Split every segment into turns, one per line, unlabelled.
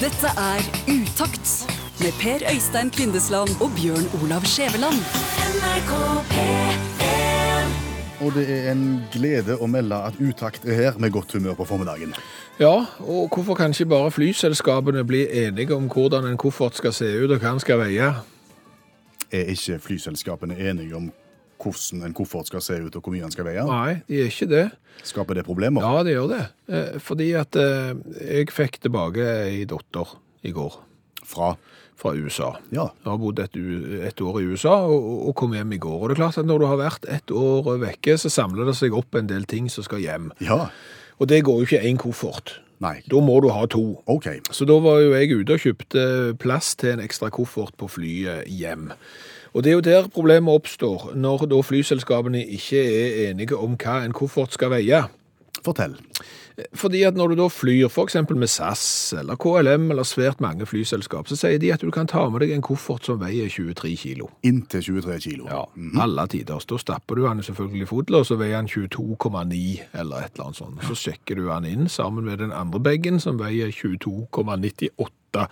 Dette er Utakt med Per Øystein Kvindesland og Bjørn Olav Skjæveland.
Og det er en glede å melde at Utakt er her med godt humør på formiddagen.
Ja, og hvorfor kan ikke bare flyselskapene bli enige om hvordan en koffert skal se ut og hva den skal veie?
Er ikke flyselskapene enige om hvordan en koffert skal se ut og hvor mye den skal veie?
Nei, de er ikke det.
Skaper det problemer?
Ja, de gjør det. Eh, Fordi at eh, jeg fikk tilbake ei datter i går
Fra
fra USA.
Ja.
Jeg har bodd et, u- et år i USA og, og kom hjem i går. Og det er klart at når du har vært et år vekke, så samler det seg opp en del ting som skal hjem.
Ja.
Og det går jo ikke én koffert.
Nei.
Da må du ha to.
OK.
Så da var jo jeg ute og kjøpte plass til en ekstra koffert på flyet hjem. Og det er jo der problemet oppstår, når da flyselskapene ikke er enige om hva en koffert skal veie.
Fortell.
Fordi at når du da flyr f.eks. med SAS eller KLM eller svært mange flyselskap, så sier de at du kan ta med deg en koffert som veier 23 kilo.
Inntil 23 kilo.
Ja, alle tiders. Da stapper du han selvfølgelig i fodler, og så veier han 22,9 eller et eller annet sånt. Så sjekker du han inn sammen med den andre beggen, som veier 22,98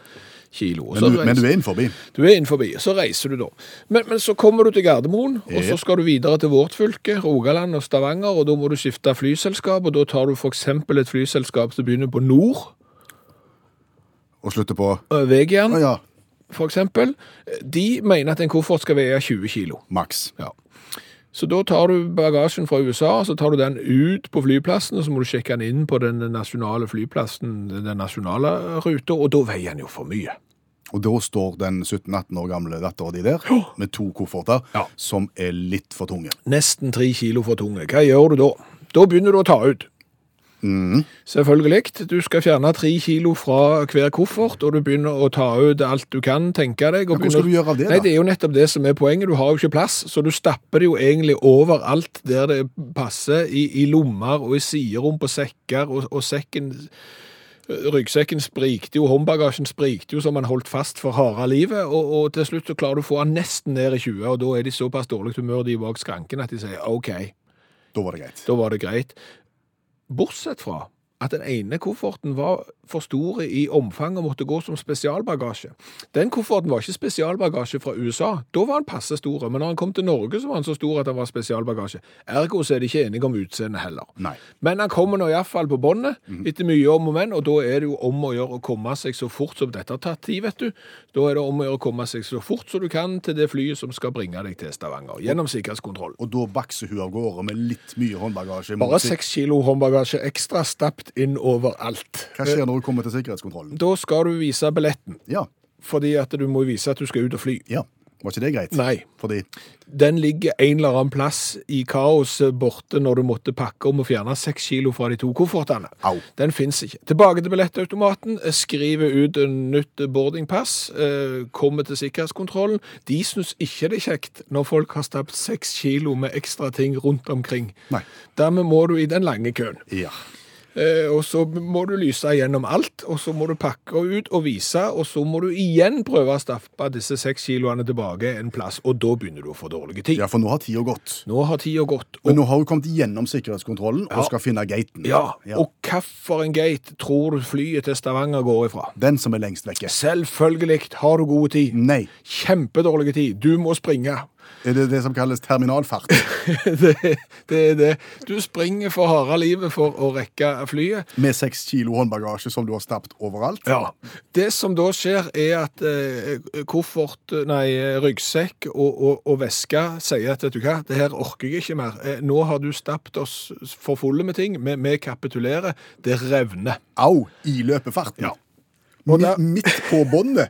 kilo. Og så
Men, du, men
reiser-
du er innenfor.
du er innenfor, så reiser du da. Men, men så kommer du til Gardermoen, og
Ja.
så skal du videre til vårt fylke, Rogaland og Stavanger, og da må du skifte flyselskap, og da tar du for eksempel et flyselskap som begynner på Nord,
Og slutter på
øh, Vegian
Å ja,
for eksempel. De mener at en koffert skal veie 20 kilo.
maks.
Ja. Så da tar du bagasjen fra USA, så tar du den ut på flyplassen, og så må du sjekke den inn på den nasjonale flyplassen, den nasjonale ruta, og da veier den jo for mye.
Og da står den 17-18 år gamle dattera di der med to kofferter
Ja.
som er litt for tunge.
Nesten tre kilo for tunge. Hva gjør du da? Da begynner du å ta ut.
Mm.
Selvfølgelig. Du skal fjerne tre kilo fra hver koffert, og du begynner å ta ut alt du kan tenke deg. og
Men hva skal
begynner-
du gjøre av det,
Nei,
da?
Det er jo nettopp det som er poenget. Du har jo ikke plass, så du stapper det jo egentlig overalt der det passer, i, i lommer og i siderom på sekker, og, og sekken Ryggsekken sprikte jo, håndbagasjen sprikte jo som han holdt fast for harde livet, og, og til slutt så klarer du å få han nesten ned i 20, og da er de såpass dårlig humør de bak skranken at de sier OK,
Da var det greit.
da var det greit. Bortsett fra at den ene kofferten var for stor i omfang og måtte gå som spesialbagasje. Den kofferten var ikke spesialbagasje fra USA. Da var han passe stor, men når han kom til Norge, så var han så stor at han var spesialbagasje. Ergo så er de ikke enige om utseendet heller.
Nei. Mhm.
Men han kommer nå iallfall på båndet, etter mye om og men, og da er det jo om å gjøre å komme seg så fort som dette har tatt tid, vet du. Da er det om å gjøre å komme seg så fort som du kan til det flyet som skal bringe deg til Stavanger, gjennom sikkerhetskontroll.
Og da bakser hun av gårde med litt mye håndbagasje.
Bare seks kilo håndbagasje ekstra stappet inn overalt.
Hva skjer når hun kommer til sikkerhetskontrollen?
Da skal du vise billetten,
Ja,
fordi at du må vise at du skal ut og fly.
ja. Var ikke det greit?
Nei.
Fordi
Den ligger en eller annen plass i kaoset borte når du måtte pakke om og fjerne seks kilo fra de to koffertene.
Au.
Den fins ikke. Tilbake til billettautomaten. Skriver ut en nytt boardingpass. eh, Kommer til sikkerhetskontrollen. De syns ikke det er kjekt når folk har stappet seks kilo med ekstra ting rundt omkring.
Nei.
Dermed må du i den lange køen.
Ja.
Eh, Og så må du lyse gjennom alt, og så må du pakke ut og vise, og så må du igjen prøve å stappe disse seks kiloene tilbake en plass, og da begynner du å få dårlig tid.
ja, for nå har tida gått.
Nå har tida gått, og,
Men nå har hun kommet gjennom sikkerhetskontrollen og
Ja.
skal finne gaten.
ja, og hvilken gate tror du flyet til Stavanger går ifra?
Den som er lengst vekke.
Selvfølgelig har du god tid.
Nei.
Kjempedårlig tid. Du må springe.
Er det det som kalles terminalfart?
det, det er det. Du springer for harde livet for å rekke flyet.
Med seks kilo håndbagasje som du har stappet overalt?
Ja. Det som da skjer, er at eh, koffert, nei, ryggsekk og, og, og veske sier at vet du hva, det her orker jeg ikke mer. Eh, nå har du stappet oss for fulle med ting. Vi, vi kapitulerer. Det revner.
Au! I løpefarten.
Ja.
Mi-
der-
Midt på båndet.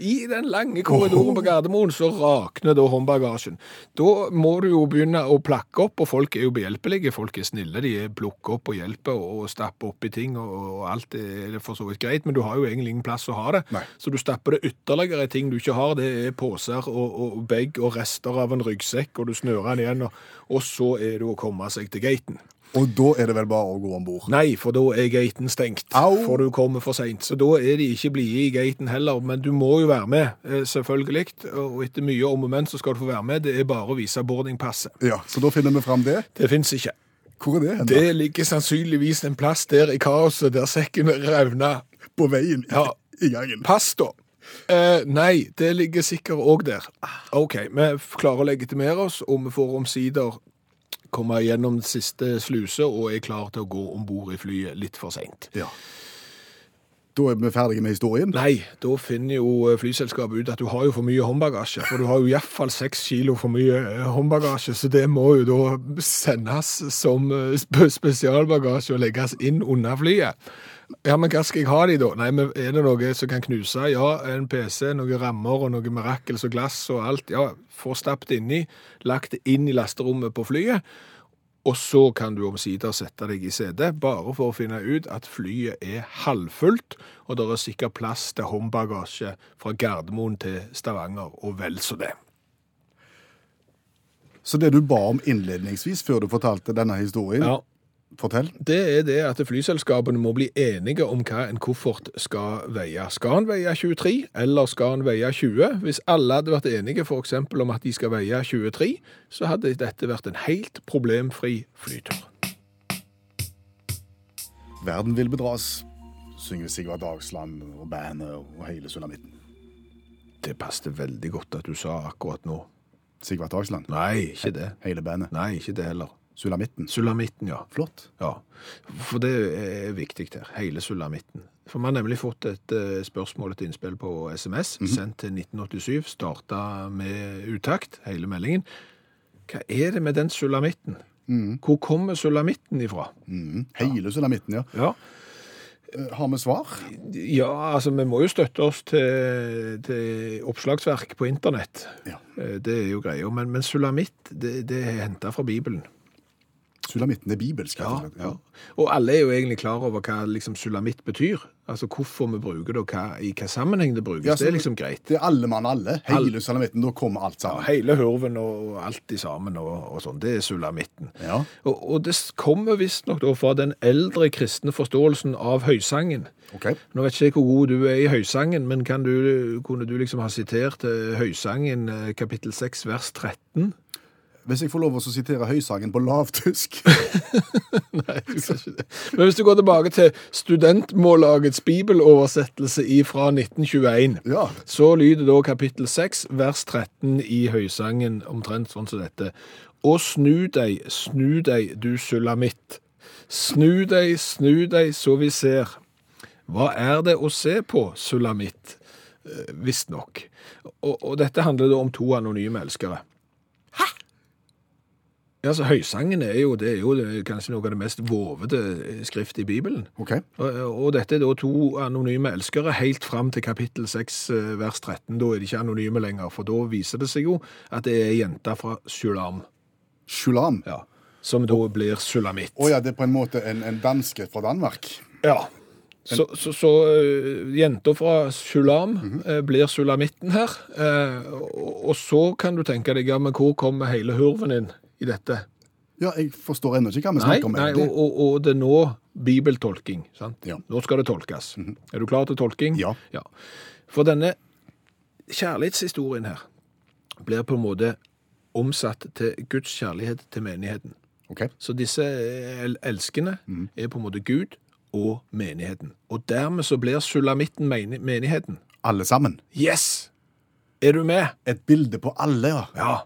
I den lange korridoren på Gardermoen så rakner da håndbagasjen. Da må du jo begynne å plakke opp, og folk er jo behjelpelige. Folk er snille, de er plukker opp og hjelper og stapper opp i ting, og, og alt er for så vidt greit, men du har jo egentlig ingen plass å ha det.
Nei.
Så du stapper det ytterligere i ting du ikke har. Det er poser og, og bag og rester av en ryggsekk, og du snører den igjen, og, og så er det å komme seg til gaten.
Og da er det vel bare å gå om bord.
Nei, for da er gaten stengt.
Au.
For du kommer for seint. Så da er de ikke blide i gaten heller. Men du må jo være med, eh, selvfølgelig. Og etter mye om og men så skal du få være med. Det er bare å vise boardingpasset.
Ja, Så da finner vi fram det.
Det fins ikke.
Hvor er det hen? da?
Det ligger sannsynligvis en plass der i kaoset der sekken revner.
på veien i-
Ja.
i gangen.
Pass, da. Eh, nei, det ligger sikkert òg der. OK, vi f- klarer å legitimere oss, og vi får omsider komme gjennom siste sluse og er klar til å gå om bord i flyet litt for seint.
Ja. Da er vi ferdige med historien.
Nei, da finner jo eh, flyselskapet ut at du har jo for mye håndbagasje. For du har jo iallfall seks kilo for mye eh, håndbagasje, så det må jo da sendes som eh, sp- spesialbagasje og legges inn under flyet. Ja, men hva skal jeg ha de da? Nei, men er det noe som kan knuse? Ja, en PC, noen rammer og noe mirakkels og glass og alt. Ja, få stappet inni, lagt det inn i lasterommet på flyet. Og så kan du omsider sette deg i setet, bare for å finne ut at flyet er halvfullt, og det er sikkert plass til håndbagasje fra Gardermoen til Stavanger, og vel så det.
Så det du ba om innledningsvis før du fortalte denne historien,
Ja,
fortell.
Det er det at flyselskapene må bli enige om hva en koffert skal veie. Skal den veie 23, eller skal den veie 20? Hvis alle hadde vært enige f.eks. om at de skal veie 23, så hadde dette vært en helt problemfri flytur.
Verden vil bedras, synger Sigvard Dagsland og bandet og hele sulamitten.
Det passet veldig godt at du sa akkurat nå.
Sigvard Dagsland,
Nei, ikke det.
hele bandet.
Nei, ikke det heller.
Sulamitten.
Sulamitten, ja.
Flott.
ja. For det er viktig her. Hele sulamitten. For vi har nemlig fått et eh, spørsmål, et innspill på
Mhm.
SMS, sendt til 1987, starta med utakt, hele meldingen. Hva er det med den sulamitten? Hvor kommer sulamitten ifra?
Mhm. Hele sulamitten, ja.
Ja.
Eh, Har vi svar?
ja, altså vi må jo støtte oss til, til oppslagsverk på internett.
Ja.
Eh, Det er jo greia. Men, men sulamitt, det, det er henta fra Bibelen.
Sulamitten er bibelsk. rett og slett.
Ja, ja. Og alle er jo egentlig klar over hva liksom sulamitt betyr. Altså hvorfor vi bruker det, og hva, i hva sammenheng det brukes.
Ja, så-
det er liksom greit.
Det er alle mann alle. Hele sulamitten. Da kommer alt sammen.
Hele hurven og og alt i sammen og, og sånn, det er sulamitten.
Ja.
Og, og det kommer visstnok da fra den eldre kristne forståelsen av høysangen.
Ok.
Nå vet ikke jeg hvor god du er i høysangen, men kan du, kunne du liksom ha sitert eh, høysangen eh, kapittel 6 vers 13?
Hvis jeg får lov å så sitere Høysangen på lavtysk
Nei, du skal ikke det. Men hvis du går tilbake til studentmållagets bibeloversettelse fra 1921,
Ja.
så lyder da kapittel 6, vers 13 i Høysangen omtrent sånn som dette. Å snu deg, snu deg, du sulamitt. Snu deg, snu deg, så vi ser. Hva er det å se på, sulamitt? Eh, Visstnok. Og, og dette handler da om to anonyme elskere. Ja, altså Høysangen er jo, det er jo det- kanskje noe av det mest vovete skrift i Bibelen.
Ok.
Og, og dette er da to anonyme elskere helt fram til kapittel 6, eh, vers 13. Da er de ikke anonyme lenger, for da viser det seg jo at det er ei jente fra Sulam,
Shulam. Å
ja, som da blir sulamitt.
ja, det er på en måte en, en danske fra Danmark.
Ja. Så, så, så eh, jenta fra Sulam eh, blir sulamitten her. eh, og, og så kan du tenke deg, ja, men hvor kommer hele hurven inn i dette?
Ja, jeg forstår ennå ikke hva vi
Nei,
snakker om.
nei og,
egentlig.
og, og det er nå bibeltolking. sant?
Ja. Mhm.
Nå skal det tolkes. Er du klar til tolking?
Ja.
For denne kjærlighetshistorien her blir på en måte omsatt til Guds kjærlighet til menigheten.
Ok.
Så disse eh, el elskende
Mhm.
er på en måte Gud og menigheten. Og dermed så blir sulamitten meni menigheten.
Alle sammen.
Yes! Er du med?
Et bilde på alle, ja.
Ja.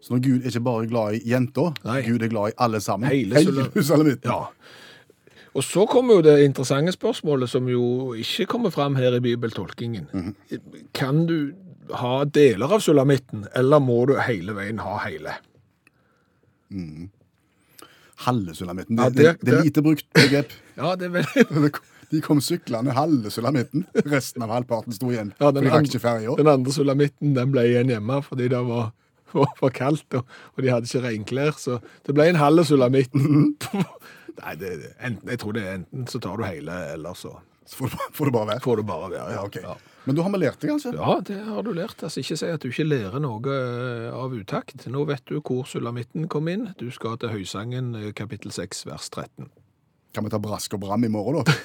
Så når Gud er ikke bare glad i jenta,
Nei.
Gud er glad i alle sammen.
Hele sulam-
sulamitten.
Ja. Og så kommer jo det interessante spørsmålet som jo ikke kommer fram her i bibeltolkingen.
Mhm.
Kan du ha deler av sulamitten, eller må du hele veien ha hele?
Halve sulamitten.
Ja,
Det, det,
det-
det er
det-
lite brukt begrep.
Ja, det er vel...
Det kom- De kom syklende halve sulamitten. Resten av halvparten sto igjen.
Ja,
for de rakk ikke ferja.
den andre sulamitten den ble igjen hjemme fordi det var, var for kaldt, og, og de hadde ikke regnklær, så det ble en halv sulamitt.
Mhm.
Nei, det, enten, jeg tror det er enten så tar du hele, eller så
Så får det bare- får det bare være.
får du bare være.
Ja, ok.
Ja.
Men da har vi lært det, kanskje?
Ja, det har du lært. Altså, ikke si at du ikke lærer noe eh, av utakt. Nå vet du hvor sulamitten kom inn. Du skal til Høysangen, eh, kapittel 6, vers 13.
Kan vi ta brask og bram i morgen, da?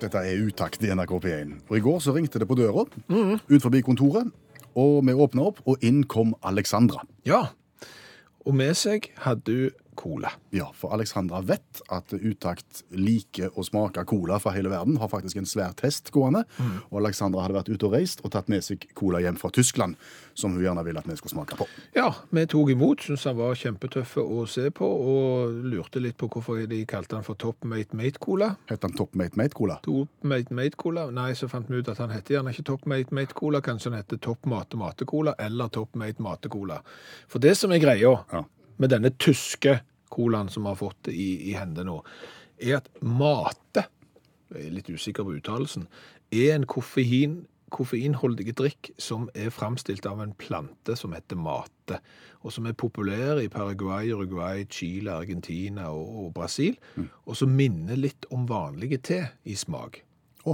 Dette er utakt i NRK P1. Og I går så ringte det på døra
Mhm.
ut forbi kontoret. Og vi åpna opp, og inn kom Alexandra.
Ja, og med seg hadde hun cola.
Ja, for Alexandra vet at Utakt liker å smake cola fra hele verden. Har faktisk en svær test gående. Og Alexandra hadde vært ute og reist og tatt med seg cola hjem fra Tyskland, som hun gjerne ville at vi skulle smake på.
Ja, vi tok imot, syntes han var kjempetøffe å se på, og lurte litt på hvorfor de kalte han for Top Mate Mate Cola.
Het den Top Mate Mate Cola?
Top Mate Mate Cola? Nei, så fant vi ut at han heter gjerne ikke Top Mate Mate Cola, kanskje han heter Top Mate Mate Cola eller Top Mate Mate Cola. For det som er greia
Ja.
med denne tyske colaen som vi har fått i, i hende nå, er at mate, jeg er litt usikker på uttalelsen, er en koffein, koffeinholdig drikk som er framstilt av en plante som heter mate, og som er populær i Paraguay, Uruguay, Chile, Argentina og, og Brasil, og som minner litt om vanlige te i smak.
Å,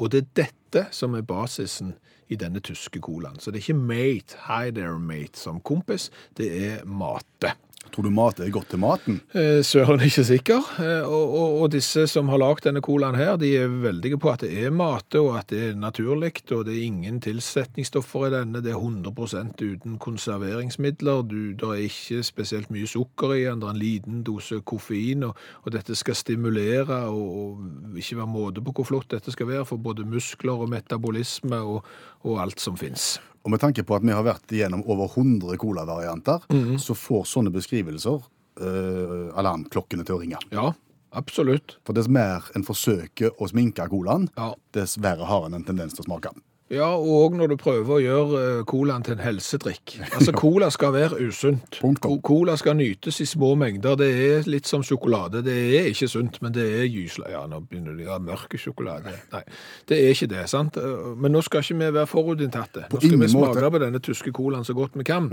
Og det er dette som er basisen i denne tyske colaen. Så det er ikke mate, hi there mate, som kompis, det er mate.
tror du mat er godt til maten?
Eh, Søren er ikke sikker, eh, og, og, og disse som har lagd denne colaen her, de er veldige på at det er mate, og at det er naturlig, og det er ingen tilsetningsstoffer i denne, det er 100 uten konserveringsmidler, du, det er ikke spesielt mye sukker i den, det er en liten dose koffein, og, og dette skal stimulere, og, og ikke være måte på hvor flott dette skal være, for både muskler og metabolisme og, og alt som finnes.
Og med tanke på at vi har vært igjennom over 100 colavarianter, så får sånne beskrivelser eh, alarmklokkene til å ringe.
Ja, absolutt.
For dess mer en forsøker å sminke colaen,
Ja.
dess verre har en en tendens til å smake.
Ja, og når du prøver å gjøre eh, colaen til en helsedrikk. Altså, cola skal være usunt.
Punktum.
Co- Cola skal nytes i små mengder. Det er litt som sjokolade. Det er ikke sunt, men det er gysla. Ja, nå begynner de å ha mørke sjokolade. Nei, det er ikke det, sant? Eh, Men nå skal ikke vi være forutinntatte. Nå skal
ingen
vi smake
måte.
på denne tyske colaen så godt vi kan.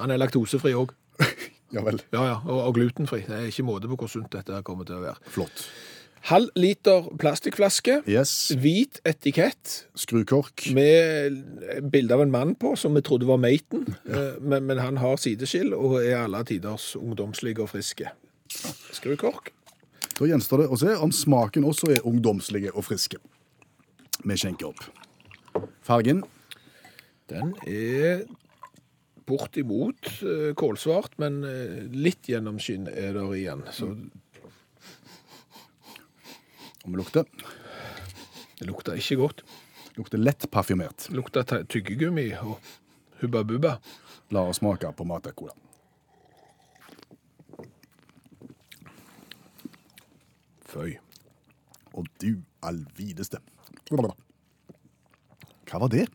Han er laktosefri òg.
Ja vel.
Ja, ja, og, og glutenfri. Det er ikke måte på hvor sunt dette her kommer til å være.
Flott.
Halv liter plastikkflaske.
Yes.
Hvit etikett.
Skrukork.
Med bilde av en mann på, som vi trodde var maten, eh, men, men han har sideskill og er alle tiders ungdomslig og friske. Skrukork.
Da gjenstår det å se om smaken også er ungdomslige og friske. Vi skjenker opp. Fargen
Den er bortimot eh, kålsvart, men eh, litt gjennomskinn er der igjen. Så
om det lukter,
det lukter ikke godt.
lukter lett parfymert.
Det lukter te- tyggegummi og hubba bubba.
La oss smake på Matacola.
Føy.
Og du allvideste. Hva var det?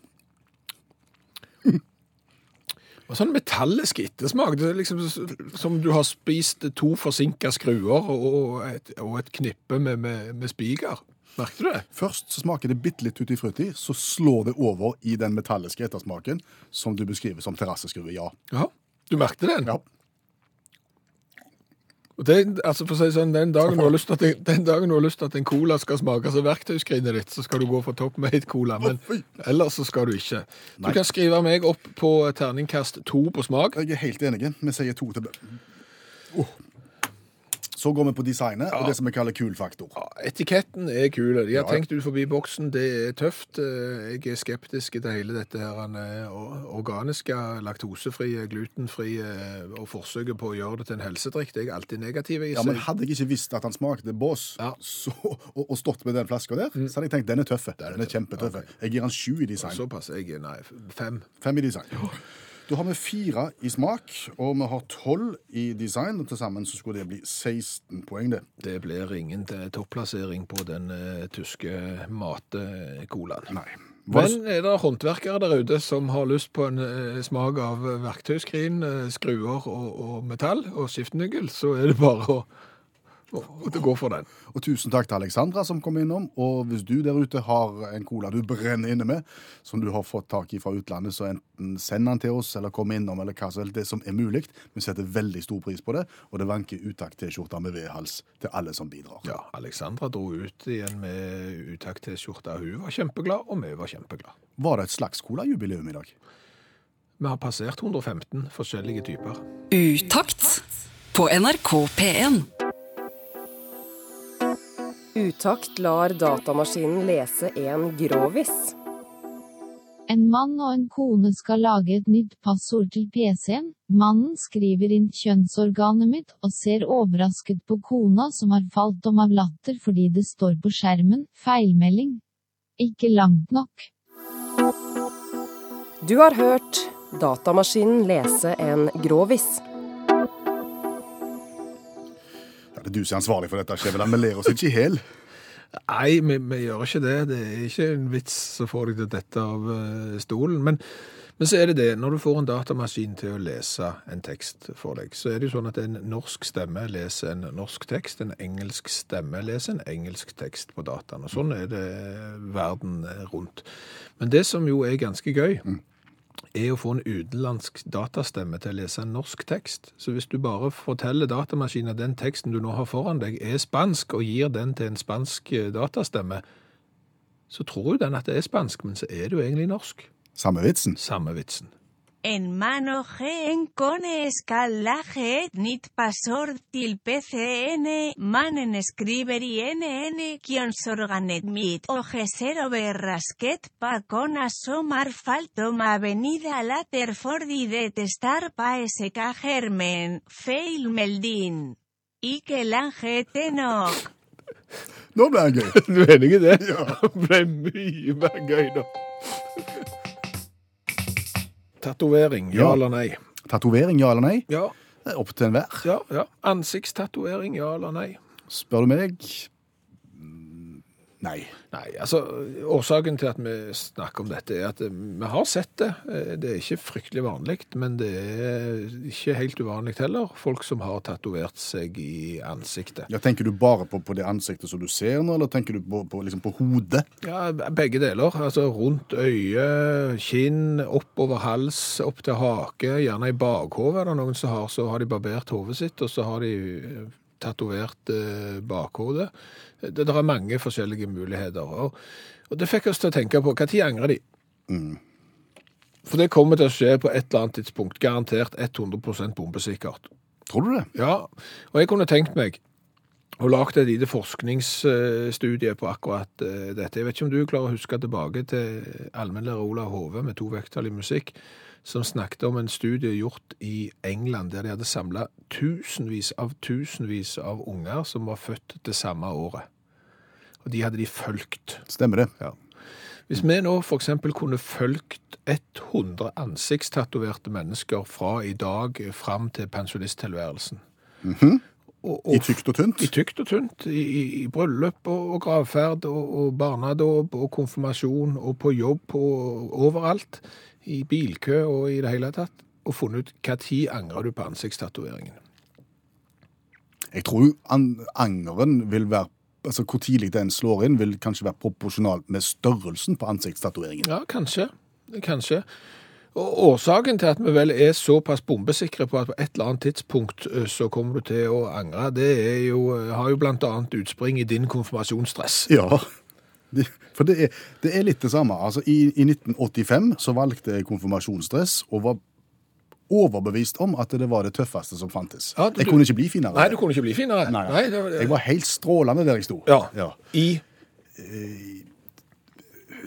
Og sånn metallisk ettersmak, det er liksom s- som du har spist to forsinka skruer og et, og et knippe med, med, med spiker. Merkte du det?
Først så smaker det bitte litt tutti frutti, så slår det over i den metalliske ettersmaken som du beskriver som terrasseskrue. Ja.
Ja, du merkte den?
Ja.
Og Det, altså for å si det sånn, den dagen, du har lyst til at, den dagen du har lyst til at en cola skal smake som verktøyskrinet ditt, så skal du gå for Top Mate Cola, men ellers så skal du ikke. Du
Nei.
kan skrive meg opp på terningkast to på smak.
Jeg er helt enig. Vi sier to til bø- Åh. Så går vi på designet og det som vi kaller kul-faktor.
Ja, Etiketten er kul. De har
Ja, ja.
tenkt ut forbi boksen. Det er tøft. Eh, Jeg er skeptisk til hele dette her han, eh, or- organiske, laktosefrie, glutenfrie eh, og forsøket på å gjøre det til en helsedrikk. Det er jeg alltid negativ i.
Ja,
så
men Hadde jeg ikke visst at han smakte bås,
Ja.
så, og, og stått med den flaska der, så hadde jeg tenkt den er tøff. Den Mm. er kjempetøff. Jeg gir han sju i design.
Såpass. Jeg er nei, f- fem.
Fem i design. Da har vi fire i smak, og vi har tolv i design. og Til sammen så skulle det bli 16 poeng, det.
Det blir ingen til topplassering på den eh, tyske mate-colaen.
Nei. Var det,
Men er det håndverkere der ute som har lyst på en eh, smak av eh, verktøyskrin, eh, skruer og, og metall og skiftenøkkel, så er det bare å, å, å gå for den.
og tusen takk til Alexandra som kom innom. Og hvis du der ute har en cola du brenner inne med, som du har fått tak i fra utlandet, så enten send den til oss, eller kom innom, eller hva som helst. Det som er mulig. Vi setter veldig stor pris på det, og det vanker utakt-T-skjorter med V-hals til alle som bidrar.
Ja, Alexandra dro ut igjen med uttakt til skjorta. Hun var kjempeglad, og vi var kjempeglad.
Var det et slags colajubileum i dag?
Vi har passert 115 forskjellige typer.
Utakt på NRK P1.
Utakt lar datamaskinen lese en grovis. En mann og en kone skal lage et nytt passord til PC-en. Mannen skriver inn kjønnsorganet mitt og ser overrasket på kona som har falt om av latter fordi det står på skjermen feilmelding. Ikke langt nok.
Du har hørt datamaskinen lese en gråviss.
Ja, det er du som er ansvarlig for dette, Skjæveland. Vi ler oss ikke i hjel.
Nei, vi, vi gjør ikke det. Det er ikke en vits som får deg til å dette av eh, stolen. Men, men så er det det, når du får en datamaskin til å lese en tekst for deg, så er det jo sånn at en norsk stemme leser en norsk tekst, en engelsk stemme leser en engelsk tekst på dataen. Og sånn er det verden rundt. Men det som jo er ganske gøy, er å få en utenlandsk datastemme til å lese en norsk tekst. Så hvis du bare forteller datamaskinen at den teksten du nå har foran deg, er spansk, og gir den til en spansk eh, datastemme, så tror jo den at det er spansk, men så er det jo egentlig norsk.
Samme vitsen.
Samme vitsen.
En mano gen con escalaje nit pasor til PCN, manen escriber y NN kion sorganet mit o gesero berrasket pa con asomar faltom avenida later fordi detestar pa SK germen, fail meldin. Ikel Ange Tenok.
Nå ble han gøy.
Du er enig i det? Ja. Det ble mye mer gøy da. Tatovering, ja,
Ja.
eller nei?
Tatovering, ja eller nei?
Ja,
Det er opp til enhver.
ja, ja. Ansiktstatovering, ja eller nei?
Spør du meg mm, Nei.
Nei, altså Årsaken til at vi snakker om dette, er at eh, vi har sett det. Eh, Det er ikke fryktelig vanlig, men det er ikke helt uvanlig heller. Folk som har tatovert seg i ansiktet.
Ja, tenker du bare på, på det ansiktet som du ser nå, eller tenker du på, på, liksom på hodet?
Ja, Begge deler. altså Rundt øyet, kinn, oppover hals, opp til hake. Gjerne i bakhovet er det noen som har. Så har de barbert hodet sitt, og så har de eh, tatovert eh, bakhodet. Det, det er mange forskjellige muligheter. Og, og det fikk oss til å tenke på når angrer de? For det kommer til å skje på et eller annet tidspunkt. Garantert 100 bombesikkert.
Tror du det?
Ja, og jeg kunne tenkt meg å lage et lite forskningsstudie på akkurat eh, dette. Jeg vet ikke om du klarer å huske tilbake til allmennlærer Olav Hove med to vekttall i musikk, som snakket om en studie gjort i England, der de hadde samla tusenvis av tusenvis av unger som var født det samme året. Og de hadde de fulgt.
Stemmer det.
Hvis vi nå f.eks. kunne fulgt 100 ansiktstatoverte mennesker fra i dag fram til pensjonisttilværelsen og, og,
Mhm. I tykt og tynt?
I tykt og tynt. I, i, i bryllup og, og gravferd og, og barnedåp og konfirmasjon og på jobb og overalt. I bilkø og i det hele tatt. Og funnet ut hva tid angrer du på ansiktstatoveringen.
Jeg tror jo an angeren vil være Altså Hvor tidlig den slår inn, vil kanskje være proporsjonalt med størrelsen på ansiktstatoveringen.
Ja, kanskje. Kanskje. Og årsaken til at vi vel er såpass bombesikre på at på et eller annet tidspunkt eh, så kommer du til å angre, det er jo, eh, har jo blant annet utspring i din konfirmasjonsstress.
Ja. Det- For det er, det er litt det samme. Altså, i, I 1985 så valgte jeg konfirmasjonsdress og var overbevist om at det var det tøffeste som fantes.
Ja, du-
jeg kunne ikke bli finere.
Nei, du kunne ikke bli finere.
Nei, nei.
det, var-
Jeg var helt strålende der jeg sto.
ja. I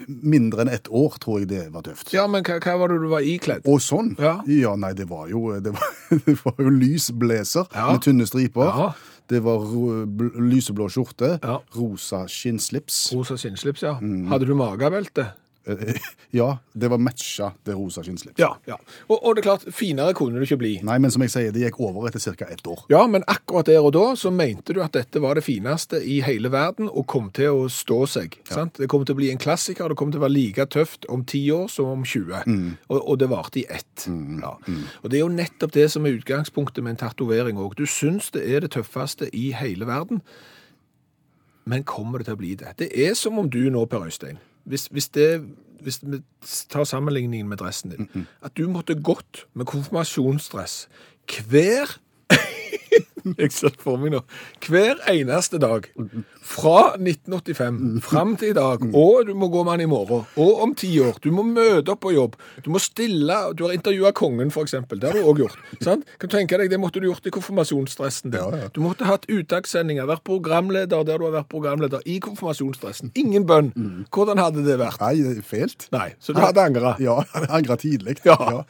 Mindre enn ett år tror jeg det var tøft.
Ja, men hva, hva var det du var ikledd?
Og sånn.
Ja.
nei, det var jo, det var, det var jo lys blazer
Ja.
med tynne striper.
Ja.
Det var ro- bl- lyseblå skjorte,
Ja.
rosa skinnslips.
Rosa skinnslips, ja. Hadde du magebelte?
Eh, Ja, det var matcha det rosa skinnslips.
Ja. ja. Og, og det er klart, finere kunne du ikke bli.
Nei, men som jeg sier, det gikk over etter ca. ett år.
Ja, men akkurat der og da så mente du at dette var det fineste i hele verden og kom til å stå seg. Sant? Det kom til å bli en klassiker, det kom til å være like tøft om 10 år som om 20. Og, og det varte i ett. Ja. Og det er jo nettopp det som er utgangspunktet med en tatovering òg. Du syns det er det tøffeste i hele verden, men kommer det til å bli det? Det er som om du nå, Per Øystein, hvis, hvis det hvis vi tar sammenligningen med dressen din, at du måtte gått med konfirmasjonsdress hver jeg ser for meg nå. Hver eneste dag fra 1985 fram til i dag, og du må gå med den i morgen, og om ti år. Du må møte opp på jobb. Du må stille Du har intervjua kongen, f.eks. Det har du òg gjort. Sant? Kan du tenke deg, Det måtte du gjort i konfirmasjonsdressen din.
Ja, ja.
Du måtte hatt uttakssendinger, vært programleder der du har vært programleder, i konfirmasjonsdressen. Ingen bønn. Hvordan hadde det vært?
Mm. Nei, det er fælt.
Nei, så du hadde angra.
Ja, jeg angrer tidlig.
Ja.
Ja.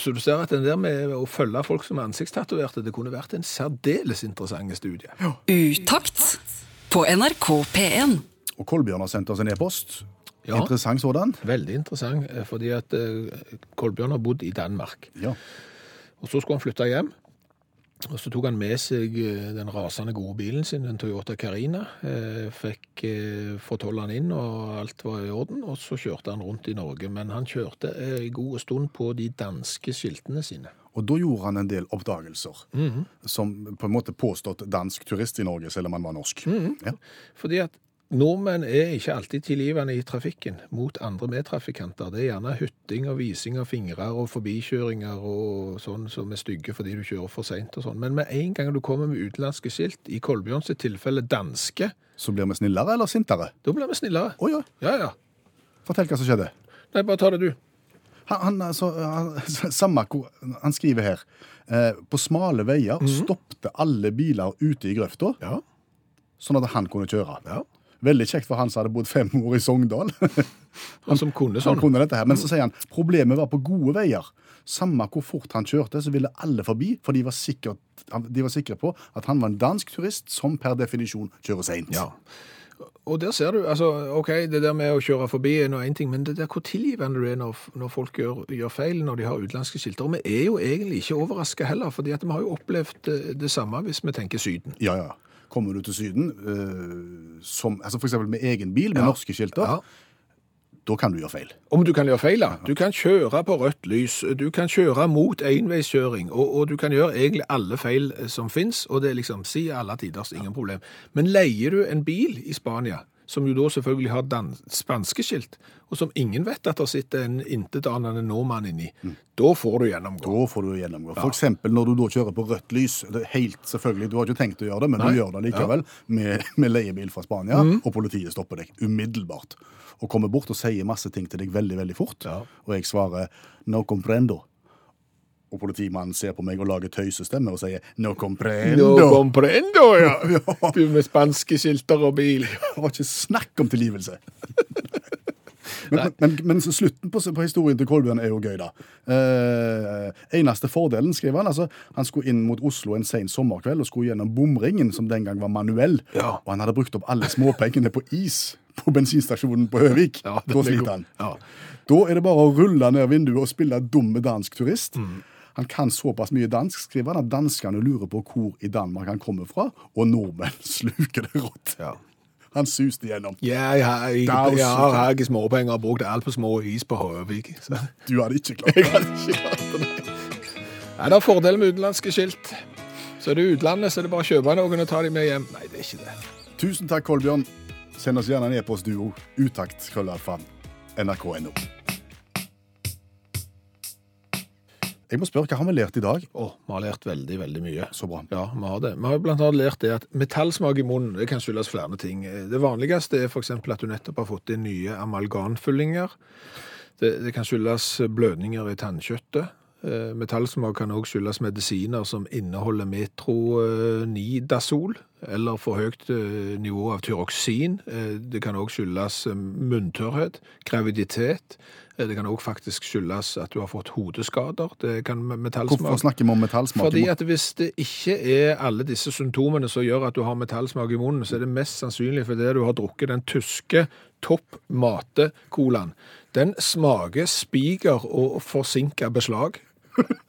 Så du ser at den der med å følge folk som er ansiktstatoverte, det kunne vært en særdeles interessant studie.
Utakt på NRK P1.
Og Kolbjørn har sendt oss en e-post.
Ja.
Interessant sådan.
Veldig interessant, eh, fordi at eh, Kolbjørn har bodd i Danmark.
Ja.
Og så skulle han flytte hjem. Og så tok han med seg eh, den rasende gode bilen sin, den Toyota Carina. eh, Fikk eh, fått holde han inn, og alt var i orden. Og så kjørte han rundt i Norge. Men han kjørte eh, en god stund på de danske skiltene sine.
Og da gjorde han en del oppdagelser som på en måte påstått dansk turist i Norge, selv om han var norsk.
Mm.
Ja.
Fordi at nordmenn er ikke alltid tilgivende i trafikken mot andre medtrafikanter. Det er gjerne hytting og vising av fingre og forbikjøringer og sånn som er stygge fordi du kjører for seint og sånn. Men med en gang du kommer med utenlandske skilt, i Kolbjørns tilfelle danske,
Så blir vi snillere eller sintere?
da blir vi snillere.
Å ja,
Ja, ja.
fortell hva som skjedde.
Nei, bare ta det du.
Han, han, altså, han, samme, hvor- han skriver her eh, På smale veier stoppte alle biler ute i grøfta,
Mhm. Ja.
sånn at han kunne kjøre. Veldig kjekt for han som hadde bodd fem år i Sogndal.
Han som kunne
Han
sånn.
kunne dette her. Men så sier han problemet var på gode veier. Samme hvor fort han kjørte, så ville alle forbi, for de var, sikkert, de var sikre på at han var en dansk turist som per definisjon kjører seint.
Ja. Og der ser du, altså, ok, det der med å kjøre forbi er nå en ting, men det der hvor tilgivende du er når, når folk gjør, gjør feil, når de har utenlandske skilter. Og vi er jo egentlig ikke overrasket heller, fordi at vi har jo opplevd eh, det samme hvis vi tenker syden.
Ja, ja. Kommer du til Syden, eh, som, altså for eksempel med egen bil, med norske skilter,
Ja.
da kan du gjøre feil.
Om du kan gjøre feil, da. Du kan kjøre på rødt lys, du kan kjøre mot enveiskjøring, og, og du kan gjøre egentlig alle feil eh, som finnes, og det er liksom si alle tiders, ingen problem. Men leier du en bil i Spania, som jo da selvfølgelig har dan- spanske skilt, og som ingen vet at det sitter en intetanende nordmann inni,
Mm.
da får du gjennomgå.
Da får du gjennomgå. For eksempel når du da kjører på rødt lys. Det er helt selvfølgelig, Du har ikke tenkt å gjøre det, men du gjør det likevel med, med leiebil fra Spania, og politiet stopper deg umiddelbart. Og kommer bort og sier masse ting til deg veldig veldig fort. Og jeg svarer 'no comprendo'. Og politimannen ser på meg og lager tøysestemme og sier 'no comprendo'.
No comprendo, ja! Du med spanske skilter og bil.
Det var ikke snakk om tilgivelse. Men, men, men så slutten på, på historien til Kolbjørn er jo gøy, da. Eh, eneste fordelen, skriver han, altså, han skulle inn mot Oslo en sen sommerkveld og skulle gjennom bomringen, som den gang var manuell,
Ja.
og han hadde brukt opp alle småpengene på is på bensinstasjonen på Høvik.
Ja,
da
det blir god.
sliter han.
Ja.
Da er det bare å rulle ned vinduet og spille dumme dansk turist.
Mm.
Han kan såpass mye dansk, skriver han, at danskene lurer på hvor i Danmark han kommer fra, og nordmenn sluker det rått.
Ja.
Han suste gjennom.
Ja, jeg har, jeg,
Daus.
jeg har ikke småpenger og brukt alt på små is på Høvik. Så.
Du hadde ikke klart
Jeg hadde ikke klart det. Nei, det er fordel med utenlandske skilt. Så er det utlandet, så er det bare å kjøpe noen og ta dem med hjem. Nei, det er ikke det.
Tusen takk, Kolbjørn. Send oss gjerne en e-post, duo. Utakt, krøllalfa, nrk.no. Jeg må spørre, hva har vi lært i dag?
Å, vi har lært veldig, veldig mye.
Så bra.
Ja, vi har det. Vi har blant annet lært det at metallsmak i munnen det kan skyldes flere ting. Det vanligste er f.eks. at du nettopp har fått inn nye amalgamfyllinger. Det, det kan skyldes blødninger i tannkjøttet. Eh, Metallsmak kan òg skyldes medisiner som inneholder metronidazol eller for høyt eh, nivå av tyroksin. Eh, Det kan òg skyldes eh, munntørrhet, graviditet. Eh, Det kan òg faktisk skyldes at du har fått hodeskader. Det kan metallsmak
Hvorfor snakker vi om metallsmak?
fordi at hvis det ikke er alle disse symptomene som gjør at du har metallsmak i munnen, så er det mest sannsynlig fordi du har drukket den tyske Topp Mate-colaen. Den smaker spiker og forsinka beslag.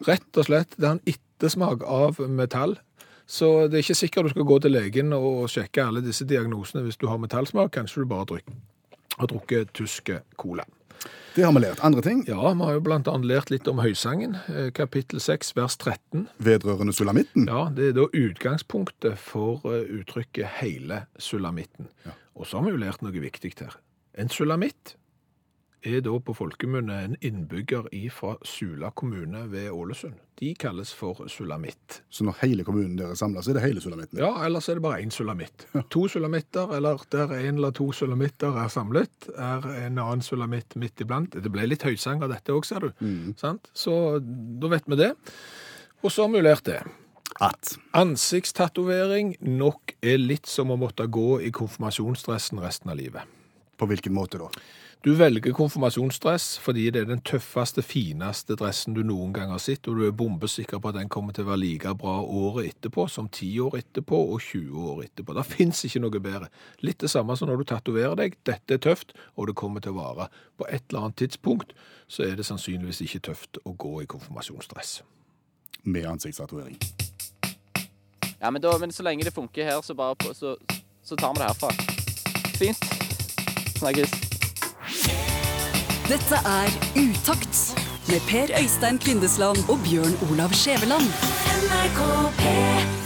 Rett og slett. Det er en ettersmak av metall. Så det er ikke sikkert du skal gå til legen og sjekke alle disse diagnosene hvis du har metallsmak. Kanskje du bare druk- har drukket tyske cola.
Det har vi lært. Andre ting
Ja, vi har jo blant annet lært litt om Høysangen, eh, kapittel 6, vers 13.
vedrørende sulamitten.
Ja, det er da utgangspunktet for eh, uttrykket hele sulamitten. Og så har vi jo lært noe viktig her. En sulamitt er da på folkemunne en innbygger ifra Sula kommune ved Ålesund. De kalles for sulamitt.
Så når hele kommunen der er samla, så er det hele sulamitten?
Ja, ellers er det bare én sulamitt. To sulamitter, eller der en eller to sulamitter er samlet, er en annen sulamitt midt iblant. Det ble litt høysang av dette òg, ser du. Sant? Så da vet vi det. Og så har vi lært det.
At.
Ansiktstatovering nok er litt som å måtte gå i konfirmasjonsdressen resten av livet.
På hvilken måte da?
Du velger konfirmasjonsdress fordi det er den tøffeste, fineste dressen du noen gang har sett, og du er bombesikker på at den kommer til å være like bra året etterpå som ti år etterpå og 20 år etterpå. Det fins ikke noe bedre. Litt det samme som når du tatoverer deg. Dette er tøft, og det kommer til å vare. På et eller annet tidspunkt så er det sannsynligvis ikke tøft å gå i konfirmasjonsdress.
Med ansiktstatovering.
Ja, men, da, men så lenge det funker her, så, bare på, så, så tar vi det herfra. Fint. Snakkes.
Dette er Utakt med Per Øystein Kvindesland og Bjørn Olav Skjæveland.
NRK P3